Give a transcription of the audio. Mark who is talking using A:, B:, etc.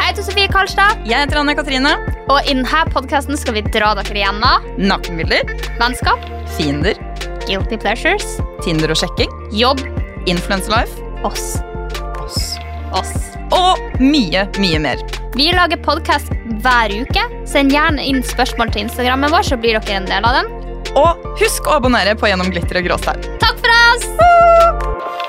A: Jeg heter Sofie Karlstad,
B: Jeg heter Anne Katrine.
A: og i denne podkasten skal vi dra dere igjennom
B: Nakenbilder,
A: vennskap,
B: fiender,
A: guilty pleasures,
B: Tinder og sjekking,
A: jobb,
B: influencerlife,
A: oss.
B: oss
A: oss.
B: og mye, mye mer.
A: Vi lager podkast hver uke. Send gjerne inn spørsmål til Instagrammen vår, så blir dere en del av den.
B: Og husk å abonnere på Gjennom glitter og gråstein.
A: Takk for oss!